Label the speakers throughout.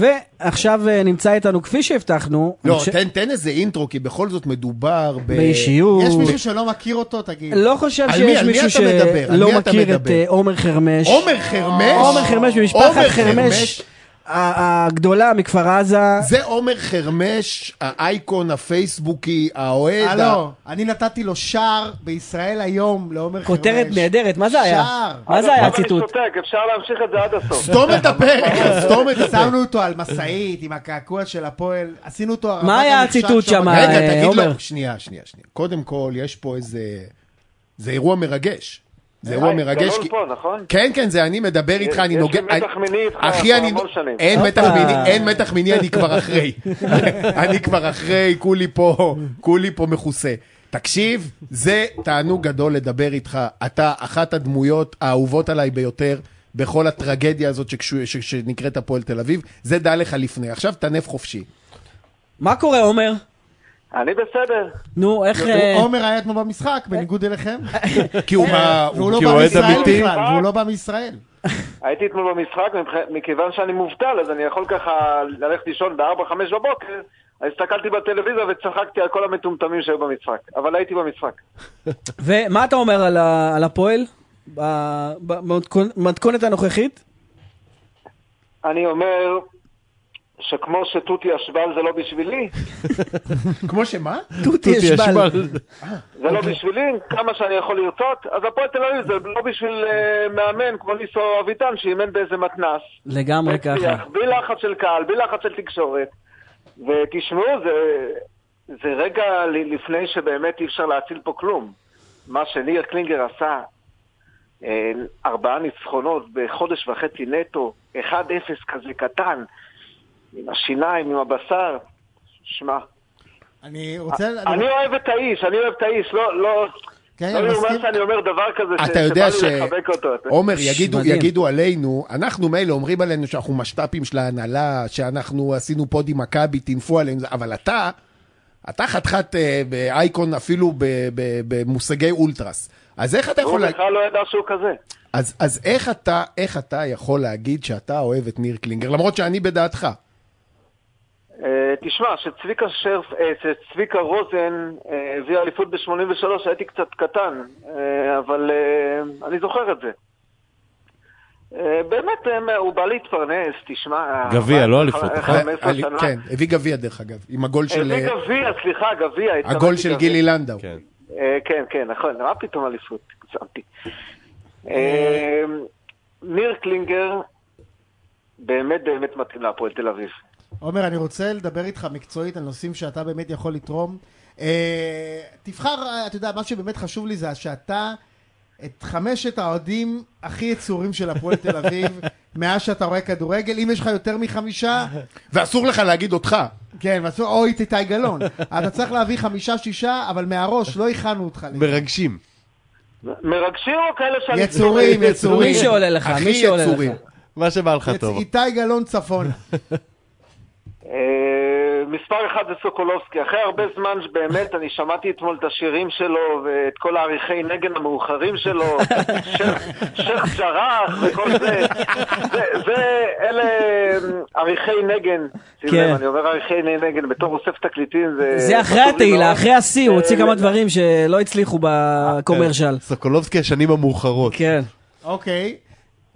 Speaker 1: ועכשיו אה, נמצא איתנו, כפי שהבטחנו,
Speaker 2: לא,
Speaker 1: אני חושב-
Speaker 2: תן- תן איזה אינטרו, כי בכל זאת מדובר ב...
Speaker 1: באישיות.
Speaker 3: יש מישהו שלא מכיר אותו, תגיד.
Speaker 1: לא חושב
Speaker 2: על מי-
Speaker 1: שיש
Speaker 2: על מי
Speaker 1: מישהו
Speaker 2: אתה מדבר? על מי
Speaker 1: שלא
Speaker 2: אתה
Speaker 1: מכיר את
Speaker 2: מדבר?
Speaker 1: אה, עומר חרמש.
Speaker 2: עומר חרמש?
Speaker 1: עומר חרמש
Speaker 2: עומר
Speaker 1: ממשפחת
Speaker 2: חרמש.
Speaker 1: חרמש ה- הגדולה מכפר עזה.
Speaker 2: זה עומר חרמש, האייקון הפייסבוקי, האוהד. ה-
Speaker 3: הלו, אני נתתי לו שער בישראל היום לעומר חרמש.
Speaker 1: כותרת נהדרת, מה זה היה?
Speaker 3: שער.
Speaker 1: מה זה היה
Speaker 4: עכשיו
Speaker 1: הציטוט?
Speaker 4: אני שותק, אפשר להמשיך את זה עד הסוף.
Speaker 2: סתום את הפה, סתום את הפה.
Speaker 3: שמנו אותו על משאית עם הקעקוע של הפועל, עשינו אותו... הרמת
Speaker 1: היה
Speaker 3: המכשף
Speaker 1: הציטוט
Speaker 3: שם.
Speaker 1: שם? מה,
Speaker 2: רגע,
Speaker 1: אה,
Speaker 2: תגיד
Speaker 1: עומר?
Speaker 2: לו, שנייה, שנייה, שנייה. קודם כל, יש פה איזה... זה אירוע מרגש. זה אירוע
Speaker 4: היי,
Speaker 2: מרגש.
Speaker 4: גלאון
Speaker 2: כי-
Speaker 4: אה, פה, נכון?
Speaker 2: כן, כן, זה אני מדבר איתך, אני
Speaker 4: יש לי
Speaker 2: נוגע...
Speaker 4: מתח
Speaker 2: אני-
Speaker 4: מיני איתך
Speaker 2: אחי,
Speaker 4: כבר
Speaker 2: אני...
Speaker 4: המון שנים.
Speaker 2: אין
Speaker 1: הופה.
Speaker 2: מתח מיני, אין מתח מיני, אני כבר אחרי. אני כבר אחרי, כולי פה, כולי פה מכוסה. תקשיב, זה תענוג גדול לדבר איתך. אתה אחת הדמויות האהובות עליי ביותר בכל הטרגדיה הזאת שקשו- ש- שנקראת הפועל תל אביב. זה דע לך לפני. עכשיו תנף חופשי.
Speaker 1: מה קורה עומר?
Speaker 4: אני בסדר.
Speaker 1: נו, איך... אה,
Speaker 3: עומר היה אתמול במשחק, בניגוד אליכם.
Speaker 2: כי הוא מה...
Speaker 3: והוא לא
Speaker 5: כי
Speaker 3: בא
Speaker 5: אוהד
Speaker 3: מישראל
Speaker 5: אמיתי.
Speaker 3: בכלל, והוא לא בא מישראל.
Speaker 4: הייתי אתמול במשחק, מבח- מכיוון שאני מובטל, אז אני יכול ככה ללכת לישון ב-4-5 בבוקר, אז הסתכלתי בטלוויזיה וצחקתי על כל המטומטמים שהיו במשחק. אבל הייתי במשחק.
Speaker 1: ומה אתה אומר על ה- על הפועל? ב- במתכונ- במתכונת הנוכחית?
Speaker 4: אני אומר שכמו שתותי השבל זה לא בשבילי,
Speaker 2: כמו שמה?
Speaker 1: תותי ישבל.
Speaker 4: זה לא בשבילי, כמה שאני יכול לרצות, אז הפועל תל אביב זה לא בשביל אה, מאמן כמו ניסו אביטן שאימן באיזה מתנס.
Speaker 1: לגמרי לא ככה.
Speaker 4: הצליח, בלי לחץ של קהל, בלי לחץ של תקשורת. ותשמעו, זה, זה רגע ל- לפני שבאמת אי אפשר להציל פה כלום. מה שניר קלינגר עשה, אה, ארבעה ניצחונות בחודש וחצי נטו, 1-0 כזה קטן, עם השיניים, עם הבשר. שמע,
Speaker 3: אני רוצה...
Speaker 4: אני אוהב את האיש, אני אוהב את האיש, לא, לא,
Speaker 3: כן,
Speaker 4: לא
Speaker 3: אני
Speaker 4: יאומן
Speaker 3: מסכים.
Speaker 4: שאני אומר דבר כזה, ש-
Speaker 2: אתה יודע ש...
Speaker 4: שבא לי לחבק אותו. אתה-
Speaker 2: עומר,
Speaker 1: ש-
Speaker 2: יגידו,
Speaker 1: מדהים.
Speaker 2: יגידו עלינו, אנחנו מילא אומרים עלינו שאנחנו משת"פים של ההנהלה, שאנחנו עשינו פוד עם מכבי, טינפו עלינו, זה- אבל אתה, אתה חתיכת אה, באייקון אפילו ב- ב- במושגי אולטרס. אז איך אתה
Speaker 4: הוא
Speaker 2: יכול... לה...
Speaker 4: בכלל לא ידע שהוא כזה.
Speaker 2: אז, אז איך, אתה, איך אתה יכול להגיד שאתה אוהב את ניר קלינגר, למרות שאני בדעתך?
Speaker 4: אה, תשמע, שצביקה שרף, אה, שצביקה רוזן אה, הביא אליפות ב-83, הייתי קצת קטן, אה, אבל אה, אני זוכר את זה. אה, באמת, אה, הוא בא להתפרנס, תשמע... אה,
Speaker 5: גביע, לא
Speaker 4: ח-
Speaker 5: אליפות, נכון?
Speaker 4: 15
Speaker 2: אה,
Speaker 4: שנה.
Speaker 2: כן, הביא גביע דרך אגב, עם הגול של...
Speaker 4: הביא
Speaker 2: אה,
Speaker 4: גביע, סליחה, גביע.
Speaker 2: הגול
Speaker 4: התכוונתי
Speaker 2: של
Speaker 4: גביע.
Speaker 2: גילי לנדאו.
Speaker 5: כן.
Speaker 4: אה, כן, כן, נכון, מה פתאום אליפות? הגזמתי. אה, ניר קלינגר באמת באמת מתאים להפועל תל אביב.
Speaker 3: עומר, אני רוצה לדבר איתך מקצועית על נושאים שאתה באמת יכול לתרום. אה, תבחר, אה, אתה יודע, מה שבאמת חשוב לי זה שאתה את חמשת האוהדים הכי יצורים של הפועל תל אביב, מאז שאתה רואה כדורגל, אם יש לך יותר מחמישה,
Speaker 2: ואסור לך להגיד אותך.
Speaker 3: כן, ועשו- או את איתי גלאון. אתה צריך להביא חמישה-שישה, אבל מהראש לא הכנו אותך. לזה.
Speaker 5: מרגשים.
Speaker 4: מרגשים או כאלה שאני...
Speaker 3: יצורים, יצורים.
Speaker 1: מי שעולה לך,
Speaker 2: הכי
Speaker 1: מי שעולה
Speaker 2: יצורים.
Speaker 1: לך.
Speaker 5: מה שבא לך
Speaker 3: יצ-
Speaker 5: טוב.
Speaker 3: איתי גלאון צפון.
Speaker 4: אה, מספר אחד זה סוקולובסקי. אחרי הרבה זמן שבאמת אני שמעתי אתמול את השירים שלו ואת כל העריכי נגן המאוחרים שלו, שייח'- שייח' ג'ראח וכל זה. זה, זה אלה אמ, עריכי נגן. שים לב,
Speaker 1: כן.
Speaker 4: אני אומר עריכי נגן, בתור אוסף תקליטים זה... לא
Speaker 1: זה אחרי
Speaker 4: חשוב לי
Speaker 1: התהילה,
Speaker 4: מאוד.
Speaker 1: אחרי השיא, הוא הוציא
Speaker 4: אה,
Speaker 1: כמה דברים שלא הצליחו בקומרשל.
Speaker 5: סוקולובסקי השנים המאוחרות.
Speaker 1: כן.
Speaker 3: אוקיי.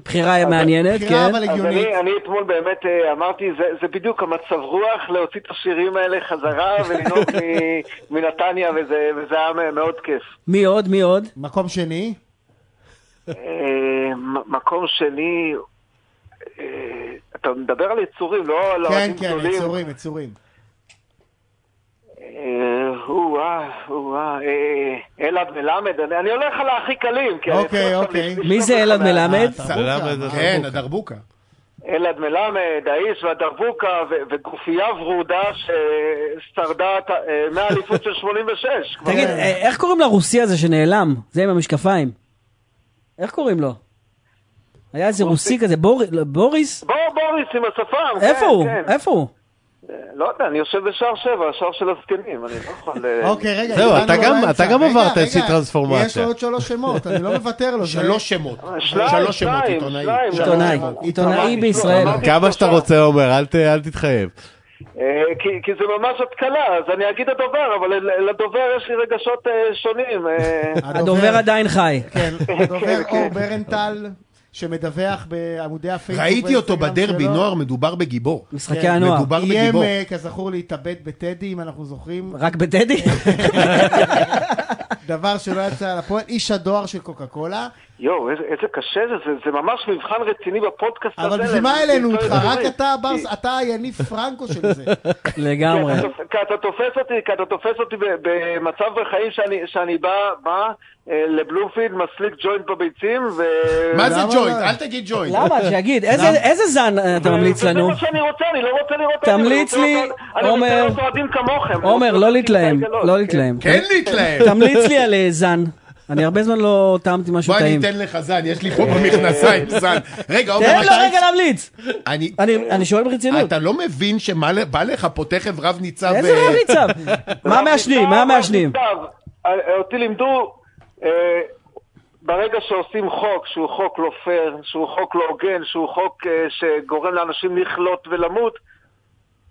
Speaker 1: בחירה מעניינת,
Speaker 3: בחירה
Speaker 1: כן.
Speaker 3: אבל
Speaker 4: אז
Speaker 3: הגיונית.
Speaker 4: אני, אני אתמול באמת אה, אמרתי, זה, זה בדיוק המצב רוח להוציא את השירים האלה חזרה ולנהוג מ- מנתניה, וזה, וזה היה מאוד כיף.
Speaker 1: מי עוד? מי עוד?
Speaker 3: מקום שני.
Speaker 4: אה, מ- מקום שני, אה, אתה מדבר על יצורים, לא על
Speaker 3: כן,
Speaker 4: אוהדים
Speaker 3: כן,
Speaker 4: גדולים.
Speaker 3: יצורים, יצורים.
Speaker 4: אה, או-אה, או-אה, אה, אלעד מלמד, אני אני הולך על הכי קלים. כי אני
Speaker 3: אוקיי,
Speaker 4: יכול עכשיו
Speaker 3: אוקיי.
Speaker 4: לשלוף
Speaker 1: מי זה
Speaker 4: לך
Speaker 1: אלעד
Speaker 4: מה-
Speaker 1: מלמד?
Speaker 5: ולמה זה
Speaker 2: כן,
Speaker 5: דרבוקה?
Speaker 2: הדרבוקה.
Speaker 4: אלעד מלמד, האיש והדרבוקה ו- וגופייה ורודה ששרדה את ה- אה, מהאליפות של 86. כבר-
Speaker 1: תגיד, אה, איך קוראים לרוסי הזה שנעלם? זה עם המשקפיים. איך קוראים לו? היה איזה רוסי כזה, בור- לא, בוריס?
Speaker 4: בוא בוריס עם השפם.
Speaker 1: איפה
Speaker 4: כן,
Speaker 1: הוא?
Speaker 4: כן.
Speaker 1: איפה הוא?
Speaker 4: אה, לא יודע, אני יושב בשער שבע, השער של הזקנים, אני לא יכול... אה,
Speaker 3: אוקיי, רגע,
Speaker 5: זהו,
Speaker 3: הגענו
Speaker 5: אתה גם-
Speaker 3: לאמצע.
Speaker 5: אתה גם
Speaker 3: רגע,
Speaker 5: עברת
Speaker 3: רגע,
Speaker 5: איזושהי טרנספורמציה.
Speaker 3: יש לו עוד שלוש שמות, אני לא מוותר לו. זה-
Speaker 2: שלוש שמות.
Speaker 4: שניים,
Speaker 2: שלוש שמות,
Speaker 4: שניים,
Speaker 2: עיתונאי.
Speaker 4: שניים,
Speaker 2: שלוש
Speaker 1: עיתונאי.
Speaker 2: שמות.
Speaker 1: עיתונאי
Speaker 4: אמרתי,
Speaker 1: בישראל.
Speaker 4: לא, אמרתי
Speaker 5: כמה שאתה
Speaker 4: שלושה.
Speaker 5: רוצה, עומר, אל ת- אל תתחייב.
Speaker 4: אה, כי, כי זה ממש התקלה, אז אני אגיד הדובר, אבל ל- לדובר יש לי רגשות אה, שונים. אה,
Speaker 1: הדובר עדיין חי.
Speaker 3: כן, הדובר
Speaker 4: כן, כן.
Speaker 3: אור ברנטל, שמדווח בעמודי הפייסבוק.
Speaker 2: ראיתי אותו
Speaker 3: והאינסטגרם
Speaker 2: בדרבי,
Speaker 3: שלו.
Speaker 2: נוער מדובר בגיבור.
Speaker 1: משחקי
Speaker 3: כן,
Speaker 1: הנוער.
Speaker 2: מדובר
Speaker 3: איים,
Speaker 2: בגיבור.
Speaker 3: אה, כזכור, להתאבד בטדי, אם אנחנו זוכרים.
Speaker 1: רק בטדי?
Speaker 3: דבר שלא יצא לפועל, איש הדואר של קוקה קולה.
Speaker 4: יואו, איזה, איזה קשה זה, זה, זה ממש מבחן רציני בפודקאסט הזה.
Speaker 3: אבל בשביל מה העלינו אותך? רק אתה
Speaker 4: כי-
Speaker 3: הברס, אתה היניב פרנקו של זה.
Speaker 4: כי
Speaker 1: לגמרי.
Speaker 4: אתה תופ- כי אתה תופס אותי, כי אתה תופס אותי ב- במצב בחיים שאני, שאני בא, בא אה, לבלומפילד, מסליק ג'וינט בביצים, ו...
Speaker 2: מה זה
Speaker 3: למה
Speaker 2: ג'וינט?
Speaker 3: לא?
Speaker 2: אל תגיד ג'וינט.
Speaker 1: למה? שיגיד, איזה- איזה זן אה, אתה ממליץ
Speaker 4: וזה
Speaker 1: לנו?
Speaker 4: מה שאני רוצה, אני לא רוצה לראות את זה.
Speaker 1: תמליץ
Speaker 4: אני רוצה
Speaker 1: לי,
Speaker 4: לראות- אני רוצה
Speaker 1: עומר.
Speaker 4: לראות אוהדים כמוכם.
Speaker 1: עומר, לא להתלהם, לא להתלהם.
Speaker 2: כן להתלהם.
Speaker 1: תמליץ לי על אה, זן. אני הרבה זמן לא טעמתי משהו
Speaker 2: בוא אני
Speaker 1: טעים.
Speaker 2: אתן לך זן, יש לי פה במכנסיים זן. רגע, עומר,
Speaker 1: תן לו
Speaker 2: אתה-
Speaker 1: רגע להמליץ.
Speaker 2: אני-
Speaker 1: אני- אני שואל ברצינות.
Speaker 2: אתה לא מבין שבא לך פה תכף רב ניצב...
Speaker 1: איזה
Speaker 2: אה,
Speaker 1: רב ניצב?
Speaker 4: כן.
Speaker 1: מה מעשנים? מה מעשנים?
Speaker 4: אותי לימדו אה, ברגע שעושים חוק, שהוא חוק לא פייר, שהוא חוק לא הוגן, שהוא חוק אה, שגורם לאנשים לחלות ולמות,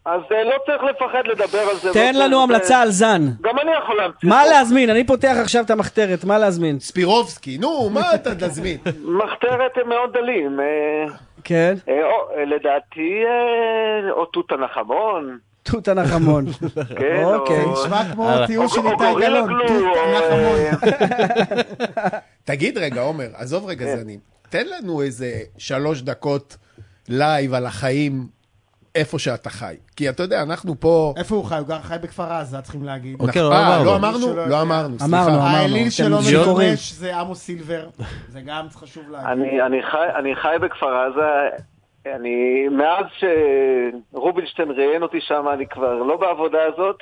Speaker 4: אז אה, לא צריך לפחד לדבר על זה.
Speaker 1: תן
Speaker 4: לא צריך,
Speaker 1: לנו
Speaker 4: אה,
Speaker 1: המלצה על זן.
Speaker 4: גם אני יכול להמציא.
Speaker 1: מה להזמין? אני פותח עכשיו את המחתרת, מה להזמין?
Speaker 2: ספירובסקי, נו, מה אתה תזמין?
Speaker 4: מחתרת הם מאוד דלים. אה,
Speaker 1: כן?
Speaker 4: אה, או- אה, לדעתי, אה, או תות הנחמון.
Speaker 1: תות הנחמון.
Speaker 4: כן, או-
Speaker 1: אוקיי,
Speaker 3: נשמע כמו
Speaker 5: הלאה.
Speaker 4: או-
Speaker 3: תיאור של
Speaker 4: או
Speaker 3: איתי
Speaker 4: גורילה
Speaker 3: גלאון.
Speaker 4: גלו,
Speaker 3: תות,
Speaker 4: או-
Speaker 3: אנחנו המון.
Speaker 2: תגיד רגע, עומר, עזוב רגע זנים, תן לנו איזה שלוש דקות לייב על החיים איפה שאתה חי. כי אתה יודע, אנחנו פה...
Speaker 3: איפה הוא חי? הוא גר חי בכפר עזה, צריכים להגיד.
Speaker 5: אוקיי,
Speaker 2: אה, לא
Speaker 5: לא אמרנו.
Speaker 2: אמרנו?
Speaker 3: שלא-
Speaker 2: לא אמרנו,
Speaker 1: אמרנו,
Speaker 2: סליחה.
Speaker 1: אמרנו.
Speaker 3: האליל
Speaker 1: אתם
Speaker 3: שלו
Speaker 1: שיכורים.
Speaker 3: מגורש זה עמוס סילבר, זה גם חשוב להגיד.
Speaker 4: אני, אני, חי, אני חי בכפר עזה, אני, מאז שרובינשטיין ראיין אותי שם, אני כבר לא בעבודה הזאת.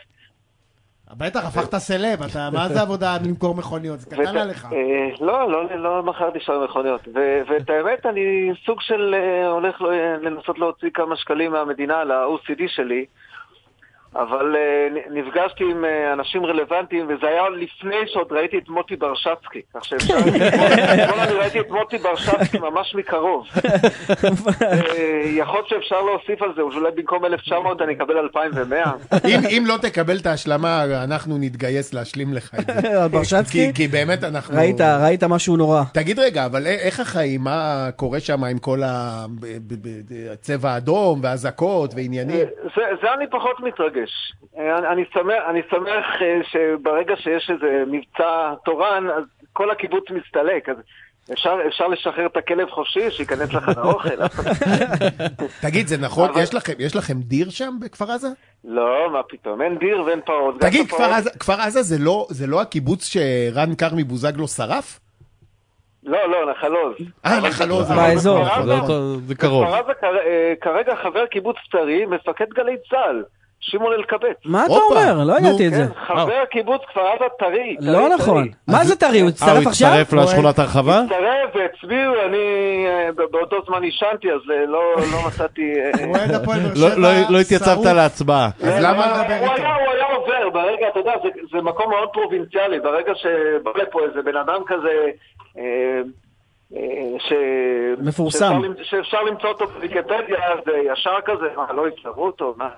Speaker 3: בטח, הפכת סלב, אתה, מה זה עבודה למכור מכוניות? זה קטן
Speaker 4: ואת-
Speaker 3: עליך.
Speaker 4: אה, לא, לא, לא מכרתי שם מכוניות. ו- ואת האמת, אני סוג של אה, הולך ל- לנסות להוציא כמה שקלים מהמדינה על ה-OCD שלי, אבל אה, נ- נפגשתי עם אה, אנשים רלוונטיים, וזה היה עוד לפני שעוד ראיתי את מוטי ברשצקי. כך שאפשר... אתמול אני ראיתי את מוטי ברשצקי ממש מקרוב. אה, יכול להיות שאפשר להוסיף על זה, אולי במקום 1900 אני אקבל 2100.
Speaker 2: אם- אם לא תקבל את ההשלמה, אנחנו נתגייס להשלים לך את זה.
Speaker 1: על ברשצקי?
Speaker 2: כי- כי באמת אנחנו...
Speaker 1: ראית, ראית משהו נורא.
Speaker 2: תגיד רגע, אבל א- איך החיים, מה קורה שם עם כל ה- ב- ב- ב- הצבע האדום והאזעקות ועניינים?
Speaker 4: זה, זה אני פחות מתרגש. אה, אני, אני שמח, אני שמח אה, שברגע שיש איזה מבצע תורן, אז כל הקיבוץ מסתלק. אז אפשר, אפשר לשחרר את הכלב חופשי, שייכנס לחדר האוכל. אף אחד-
Speaker 2: תגיד, זה נכון?
Speaker 4: אבל-
Speaker 2: יש לכם- יש לכם דיר שם בכפר עזה?
Speaker 4: לא, מה פתאום, אין דיר ואין פרות. גם
Speaker 2: תגיד,
Speaker 4: את הפרות-
Speaker 2: כפר עזה- כפר עזה זה לא- זה לא הקיבוץ שרן כרמי בוזגלו שרף?
Speaker 4: לא, לא, נחל עוז.
Speaker 2: אה, נחל עוז.
Speaker 4: אבל
Speaker 1: באזור.
Speaker 2: לא
Speaker 4: בכפר
Speaker 5: זה
Speaker 4: עזה-
Speaker 5: אותו- זה קרוב.
Speaker 4: בכפר עזה כר- אה, כרגע חבר קיבוץ צרי, מפקד גלי צה"ל, שמעון אלקבץ.
Speaker 1: מה אתה
Speaker 2: הופה.
Speaker 1: אומר? לא
Speaker 2: נו,
Speaker 1: ידעתי את זה.
Speaker 4: כן, חבר קיבוץ כפר עזה טרי.
Speaker 1: לא
Speaker 4: טרי,
Speaker 1: נכון.
Speaker 4: טרי.
Speaker 1: מה זה טרי? הוא
Speaker 5: אה, הוא
Speaker 1: הצטרף עכשיו?
Speaker 5: הצטרף לשכונת הרחבה?
Speaker 4: הצטרף והצביעו, אני אה, ב- באותו זמן עישנתי, אז אה, לא לא מצאתי... אה, אה,
Speaker 3: הוא אוהד הפועל באר
Speaker 5: לא- לא-
Speaker 3: שבע,
Speaker 5: לא התייצבת
Speaker 3: שרוף.
Speaker 5: להצבעה.
Speaker 2: אז למה...
Speaker 3: לדבר
Speaker 4: הוא
Speaker 3: איתו.
Speaker 4: היה- הוא היה עובר, ברגע, אתה יודע, זה- זה מקום מאוד פרובינציאלי, ברגע שבא לפה איזה בן אדם כזה... אה, אה, ש...
Speaker 1: מפורסם.
Speaker 4: שאפשר למצ- שאפשר למצוא אותו בוויקיפדיה, אז אה, ישר כזה, מה, לא יפטרו אותו? מה?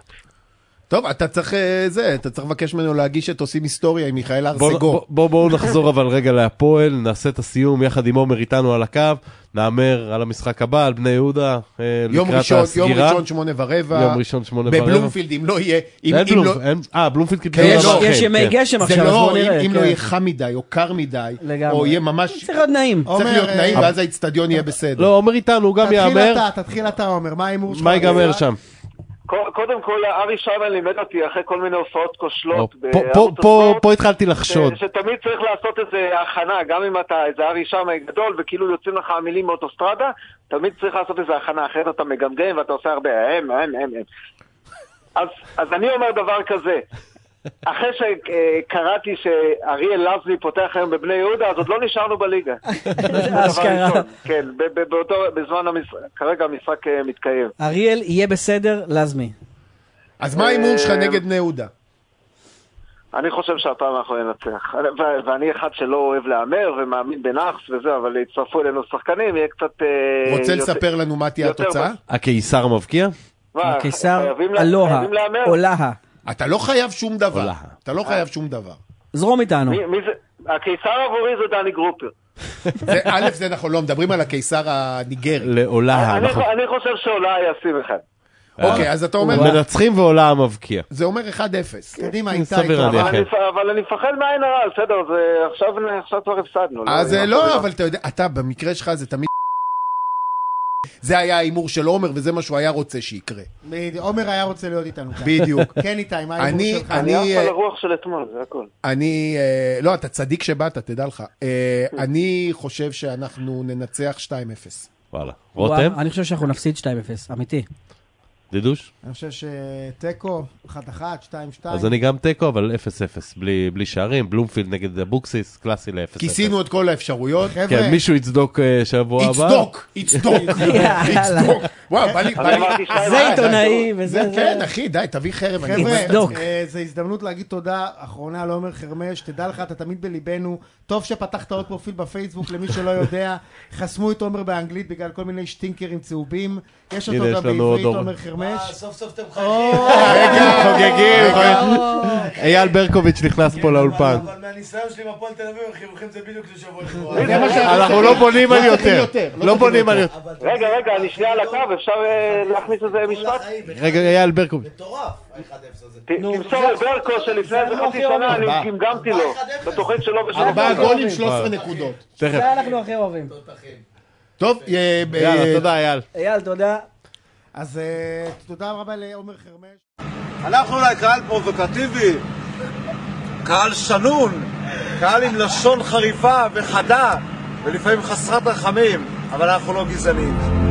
Speaker 2: טוב, אתה צריך אה, זה, אתה צריך לבקש ממנו להגיש את עושים היסטוריה עם מיכאל
Speaker 5: בואו
Speaker 2: ארסגו.
Speaker 5: בוא, בוא נחזור אבל רגע להפועל, נעשה את הסיום יחד עם עומר איתנו על הקו, נאמר על המשחק הבא, על בני יהודה, אה,
Speaker 2: יום
Speaker 5: לקראת
Speaker 2: ראשון, יום
Speaker 5: הסגירה.
Speaker 2: ראשון שמונה ורבע.
Speaker 5: יום ראשון, שמונה ורבע.
Speaker 2: בבלומפילד, אם לא יהיה... אם-
Speaker 5: אין
Speaker 2: אם לא-
Speaker 5: בלומפילד, אין- אה, בלומפילד קיבלו
Speaker 2: כן,
Speaker 1: יש-
Speaker 2: לא,
Speaker 5: דבר,
Speaker 1: יש
Speaker 5: כן,
Speaker 1: ימי
Speaker 5: כן.
Speaker 1: גשם
Speaker 2: זה
Speaker 1: עכשיו, אז
Speaker 2: לא,
Speaker 1: בואו
Speaker 2: אם-
Speaker 1: נראה.
Speaker 2: אם
Speaker 1: כן.
Speaker 2: לא יהיה חם מדי או קר מדי,
Speaker 1: לגמרי.
Speaker 2: או יהיה ממש...
Speaker 1: צריך להיות נעים.
Speaker 2: צריך
Speaker 3: עומר,
Speaker 2: להיות
Speaker 3: אה,
Speaker 2: נעים, ואז האיצטדיון יהיה בסדר.
Speaker 5: לא, עומר איתנו, הוא גם
Speaker 3: תתחיל
Speaker 5: יאמר,
Speaker 3: אתה, תתחיל אתה, עומר, מה ההימור שלך?
Speaker 5: מה ייגמר שם?
Speaker 4: קו- קודם כל, ארי שרמן לימד אותי אחרי כל מיני הופעות
Speaker 5: או,
Speaker 4: כושלות.
Speaker 5: לא, פה-
Speaker 4: בערוץ
Speaker 5: פה- פה
Speaker 4: הספורט.
Speaker 5: פה התחלתי
Speaker 4: ש-
Speaker 5: לחשוד.
Speaker 4: שתמיד צריך לעשות איזה הכנה, גם אם אתה איזה ארי שמה גדול וכאילו יוצאים לך המילים מאוטוסטרדה, תמיד צריך לעשות איזה הכנה, אחרת אתה מגמגם ואתה עושה הרבה הם, הם, הם, הם. אז, אז אני אומר דבר כזה, אחרי שקראתי שאריאל לבני פותח היום בבני יהודה, אז עוד לא נשארנו בליגה.
Speaker 1: זה אשכרה.
Speaker 4: דבר ראשון, כן, ב- ב- באותו, בזמן המשחק, כרגע המשחק אה, מתקיים.
Speaker 1: אריאל יהיה בסדר, לזמי.
Speaker 2: אז מה ההימור שלך נגד בני יהודה?
Speaker 4: אה, אני חושב שהפעם אנחנו ננצח. ו- ואני אחד שלא אוהב להמר ומאמין בנאחס וזה, אבל יצטרפו אלינו שחקנים, יהיה קצת... אה,
Speaker 2: רוצה
Speaker 4: יותר-
Speaker 2: לספר לנו מה תהיה
Speaker 4: יותר
Speaker 2: התוצאה?
Speaker 5: הקיסר מבקיע?
Speaker 4: מה,
Speaker 1: הקיסר,
Speaker 4: חייבים לה-
Speaker 1: אלוה,
Speaker 4: חייבים להמר?
Speaker 1: עולה,
Speaker 2: אתה לא חייב שום דבר.
Speaker 5: עולה.
Speaker 2: אתה לא חייב שום דבר.
Speaker 1: זרום איתנו.
Speaker 4: מי- מי זה- הקיסר עבורי זה דני גרופר.
Speaker 2: זה- א', זה נכון, לא, מדברים על הקיסר הניגרי.
Speaker 1: אה,
Speaker 5: לעולה.
Speaker 4: אה,
Speaker 1: נכון.
Speaker 4: אני
Speaker 5: אנחנו-
Speaker 4: ח- אני חושב שעולה ישים אחד.
Speaker 5: אה.
Speaker 2: אוקיי, אז אתה אומר,
Speaker 5: מנצחים ועולה המבקיע.
Speaker 2: זה אומר 1-0.
Speaker 3: קדימה, איתי.
Speaker 5: כן, סביר
Speaker 3: טוב.
Speaker 5: להניח.
Speaker 4: אבל
Speaker 5: כן.
Speaker 4: אני- אבל אני מפחד מהעין הרע, בסדר, זה- עכשיו עכשיו כבר הפסדנו.
Speaker 2: אז
Speaker 4: אני-
Speaker 2: אה, לא, אבל אתה יודע, אתה, במקרה שלך זה תמיד... זה היה ההימור של עומר, וזה מה שהוא היה רוצה שיקרה.
Speaker 3: בדיוק. עומר היה רוצה להיות איתנו כאן.
Speaker 2: בדיוק.
Speaker 3: כן, איתי, מה ההימור
Speaker 2: אני-
Speaker 3: שלך?
Speaker 2: אני-
Speaker 4: אני עף על
Speaker 2: אה,
Speaker 4: הרוח של אתמול, זה הכל.
Speaker 2: אני... אה, לא, אתה צדיק שבאת, תדע לך. אה, אני חושב שאנחנו ננצח 2-0.
Speaker 5: וואלה.
Speaker 1: וואו,
Speaker 5: רותם?
Speaker 1: אני חושב שאנחנו נפסיד 2-0, אמיתי.
Speaker 5: דדוש?
Speaker 3: אני חושב שתיקו, 1-1, 2-2.
Speaker 5: אז אני גם תיקו, אבל 0-0. בלי בלי שערים, בלומפילד נגד אבוקסיס, קלאסי ל-0-0.
Speaker 2: כיסינו את כל האפשרויות.
Speaker 5: כן,
Speaker 3: חבר'ה,
Speaker 5: מישהו יצדוק אה, שבוע הבא?
Speaker 2: יצדוק, יצדוק, יצדוק. וואו, בא לי...
Speaker 4: אני
Speaker 2: בא לי-
Speaker 4: אמרתי שתיים,
Speaker 1: זה
Speaker 4: אה,
Speaker 1: עיתונאי וזה...
Speaker 2: זה
Speaker 1: זה-
Speaker 2: כן, אחי, די, תביא חרב. אני-
Speaker 3: חבר'ה,
Speaker 1: יצדוק.
Speaker 3: אה, זו הזדמנות להגיד תודה אחרונה לעומר חרמש, תדע לך, אתה תמיד בליבנו. טוב שפתחת עוד פרופיל בפייסבוק, למי שלא יודע. חסמו את עומר באנגלית בגלל כל מיני שטינקרים צהובים. יש אותו
Speaker 5: הנה,
Speaker 3: גם
Speaker 5: יש לנו עוד
Speaker 3: בעברית,
Speaker 5: עומר.
Speaker 3: עומר חרמש.
Speaker 6: סוף סוף אתם חייבים,
Speaker 2: אה, כן,
Speaker 5: חוגגים, אה, חוגגים. אייל ברקוביץ' נכנס פה לאולפן.
Speaker 6: אבל מהניסיון שלי עם הפועל תל אביב, החיוכים זה בדיוק לשבוע לכבוד.
Speaker 2: זה מה שאנחנו
Speaker 5: אנחנו לא בונים על יותר. לא בונים על יותר.
Speaker 4: רגע, רגע, אני שנייה על הקו, אפשר אה, להכניס איזה משפט?
Speaker 5: רגע, אייל ברקוביץ'.
Speaker 6: מטורף, ה-1-0 הזה.
Speaker 4: ת- תמסור לברקו שלפני איזה חצי שנה אני גמגמתי לו, בתוכנית שלו בשביל...
Speaker 2: ארבעה גולים, 13 נקודות.
Speaker 5: אה, תכף.
Speaker 1: זה אנחנו הכי אוהבים.
Speaker 2: טוב, אה, ב-
Speaker 5: יאללה, תודה אייל.
Speaker 1: אייל, תודה.
Speaker 3: אז אה, תודה רבה לעומר חרמש.
Speaker 6: אנחנו אולי קהל פרובוקטיבי, קהל שנון, קהל עם לשון חריפה וחדה, ולפעמים חסרת רחמים, אבל אנחנו לא גזענים.